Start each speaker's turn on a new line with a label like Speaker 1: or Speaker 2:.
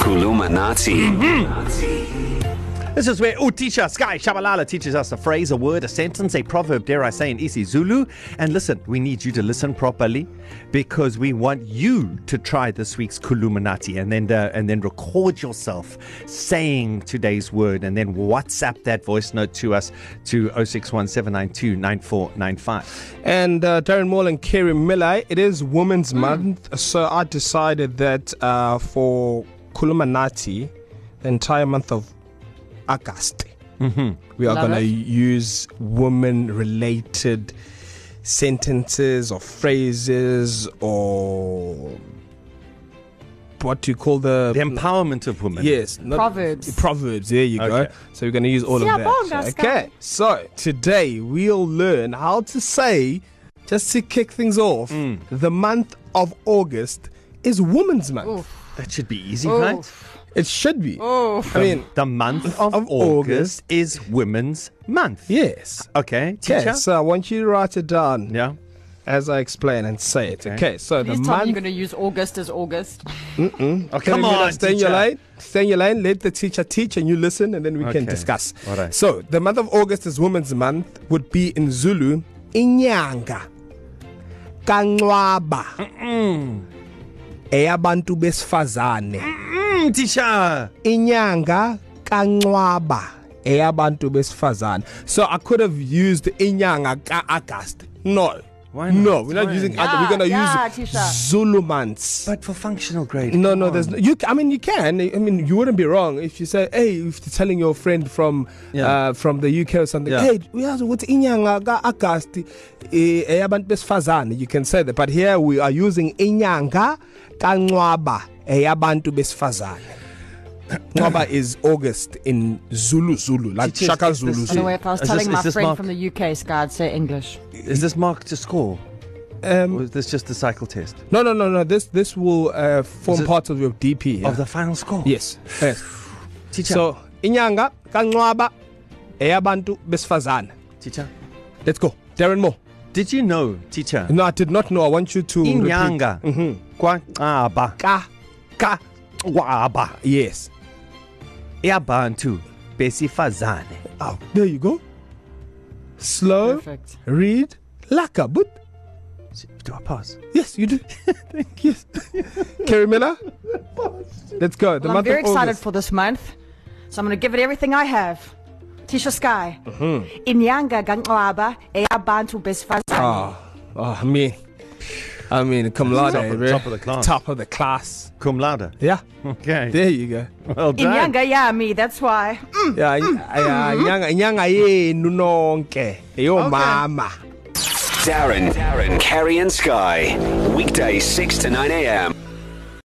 Speaker 1: Kulumanati.
Speaker 2: This is where Utisha Sky Shabalala teaches us a phrase, a word, a sentence, a proverb, dare I say, in Isi Zulu. And listen, we need you to listen properly because we want you to try this week's Kuluminati and then uh, and then record yourself saying today's word and then WhatsApp that voice note to us to 0617929495.
Speaker 3: And uh, Darren Moore and Kerry Miller, it is Women's
Speaker 4: Hmm.
Speaker 3: mm. Month, so I decided that uh, for Kulumanati, the entire month of August, mm-hmm. we are
Speaker 4: Love
Speaker 3: going to
Speaker 4: it.
Speaker 3: use women related sentences or phrases or what do you call the.
Speaker 2: The empowerment of women.
Speaker 3: Yes, not,
Speaker 4: Proverbs.
Speaker 3: Proverbs. There you okay.
Speaker 2: Okay.
Speaker 3: go. So we're going to use all of
Speaker 4: Siyabonga,
Speaker 3: that.
Speaker 4: Sky.
Speaker 3: Okay. So today we'll learn how to say, just to kick things off, mm. the month of August is Women's Month. Oof.
Speaker 2: That should be easy,
Speaker 4: Oh.
Speaker 2: right?
Speaker 3: It should be.
Speaker 4: Oh,
Speaker 3: I mean,
Speaker 2: The month of, of
Speaker 3: Of
Speaker 2: August, August
Speaker 3: August.
Speaker 2: is Women's Month.
Speaker 3: yes.
Speaker 2: Okay, teacher.
Speaker 3: Okay. So I want you to write it down yeah.
Speaker 2: Yeah.
Speaker 3: as I explain and say it.
Speaker 2: Okay.
Speaker 3: Okay. okay so
Speaker 4: please
Speaker 3: the
Speaker 4: tell me
Speaker 3: month.
Speaker 4: you're going to use August as August.
Speaker 2: Oh,
Speaker 3: Okay,
Speaker 2: come
Speaker 3: we're gonna
Speaker 2: on,
Speaker 3: stay in your
Speaker 2: teacher.
Speaker 3: lane. Stay in your lane. Let the teacher teach, and you listen, and then we okay. can
Speaker 2: Okay.
Speaker 3: discuss.
Speaker 2: All right.
Speaker 3: So the month of August is Women's Month. Would be in Zulu, inyanga kanqwaba eyabantu besifazane.
Speaker 2: Mm, teacher.
Speaker 3: Inyanga kanqwaba eyabantu besifazane. So I could have used inyanga ka August. No.
Speaker 2: Why not?
Speaker 3: No, we're not
Speaker 2: Why?
Speaker 3: using.
Speaker 4: Yeah,
Speaker 3: Yeah, we're gonna
Speaker 4: yeah,
Speaker 3: use
Speaker 4: Tisha.
Speaker 3: Zulu months.
Speaker 2: But for functional grade.
Speaker 3: No,
Speaker 2: come
Speaker 3: no,
Speaker 2: on.
Speaker 3: there's no, you. I mean, you can. I mean, you wouldn't be wrong if you say, "Hey, if you're telling your friend from
Speaker 2: Yeah.
Speaker 3: yeah. uh, from the UK or something,
Speaker 2: Yeah.
Speaker 3: yeah. hey, uyazi ukuthi inyanga kaAugust eh, eyabantu besifazane." You can say that, but here we are using inyanga kanqwaba eyabantu besifazane. Nqwaba is August in Zulu Zulu, like
Speaker 2: Teachers,
Speaker 3: Shaka
Speaker 2: is
Speaker 3: Zulu.
Speaker 2: this-
Speaker 4: I
Speaker 3: Zulu.
Speaker 4: know
Speaker 2: Anyway,
Speaker 4: if I was
Speaker 2: Is
Speaker 4: telling
Speaker 2: this-
Speaker 4: my
Speaker 2: is this
Speaker 4: friend
Speaker 2: Mark?
Speaker 4: from the UK, Sky, I'd say English.
Speaker 2: Is this marked to score?
Speaker 3: Um,
Speaker 2: Or is this just the cycle test?
Speaker 3: no, no, no, no. This this will uh,
Speaker 2: Is
Speaker 3: form
Speaker 2: it-
Speaker 3: part of your DP. Yeah?
Speaker 2: Of the final score?
Speaker 3: yes, yes.
Speaker 2: Teacher.
Speaker 3: So inyanga kanqwaba eyabantu besifazane.
Speaker 2: teacher.
Speaker 3: Let's go. Darren Moore.
Speaker 2: Did you know, teacher?
Speaker 3: No, I did not know. I want you to
Speaker 2: Inyanga.
Speaker 3: Mm-hmm.
Speaker 2: Kwaqaba.
Speaker 3: Ka ka
Speaker 2: Waba.
Speaker 3: yes.
Speaker 2: Yabantu. Besifazane.
Speaker 3: Oh, there you go. Slow.
Speaker 4: Perfect.
Speaker 3: Read. Laka but
Speaker 2: Do I pass?
Speaker 3: yes, you do. Thank you. Kerry Miller. Let's go. The
Speaker 4: Well, I'm
Speaker 3: month
Speaker 4: very
Speaker 3: of
Speaker 4: excited
Speaker 3: August.
Speaker 4: for this month, so I'm going to give it everything I have. Tisha Sky. Mm-hmm. Inyanga ganqwaba eyabantu besifazane.
Speaker 3: Oh, oh, I mean, I mean, cum laude,
Speaker 2: Top of-
Speaker 3: bro.
Speaker 2: top of the class.
Speaker 3: Top of the class.
Speaker 2: Cum laude.
Speaker 3: Yeah.
Speaker 2: Okay.
Speaker 3: There you go.
Speaker 2: Well done.
Speaker 4: Inyanga yami, that's why.
Speaker 3: Yeah, yeah, inyanga inyanga yenu nonke. Eyo mama.
Speaker 1: Darren, Darren, Carrie and Sky. Weekday 6 to 9 a.m.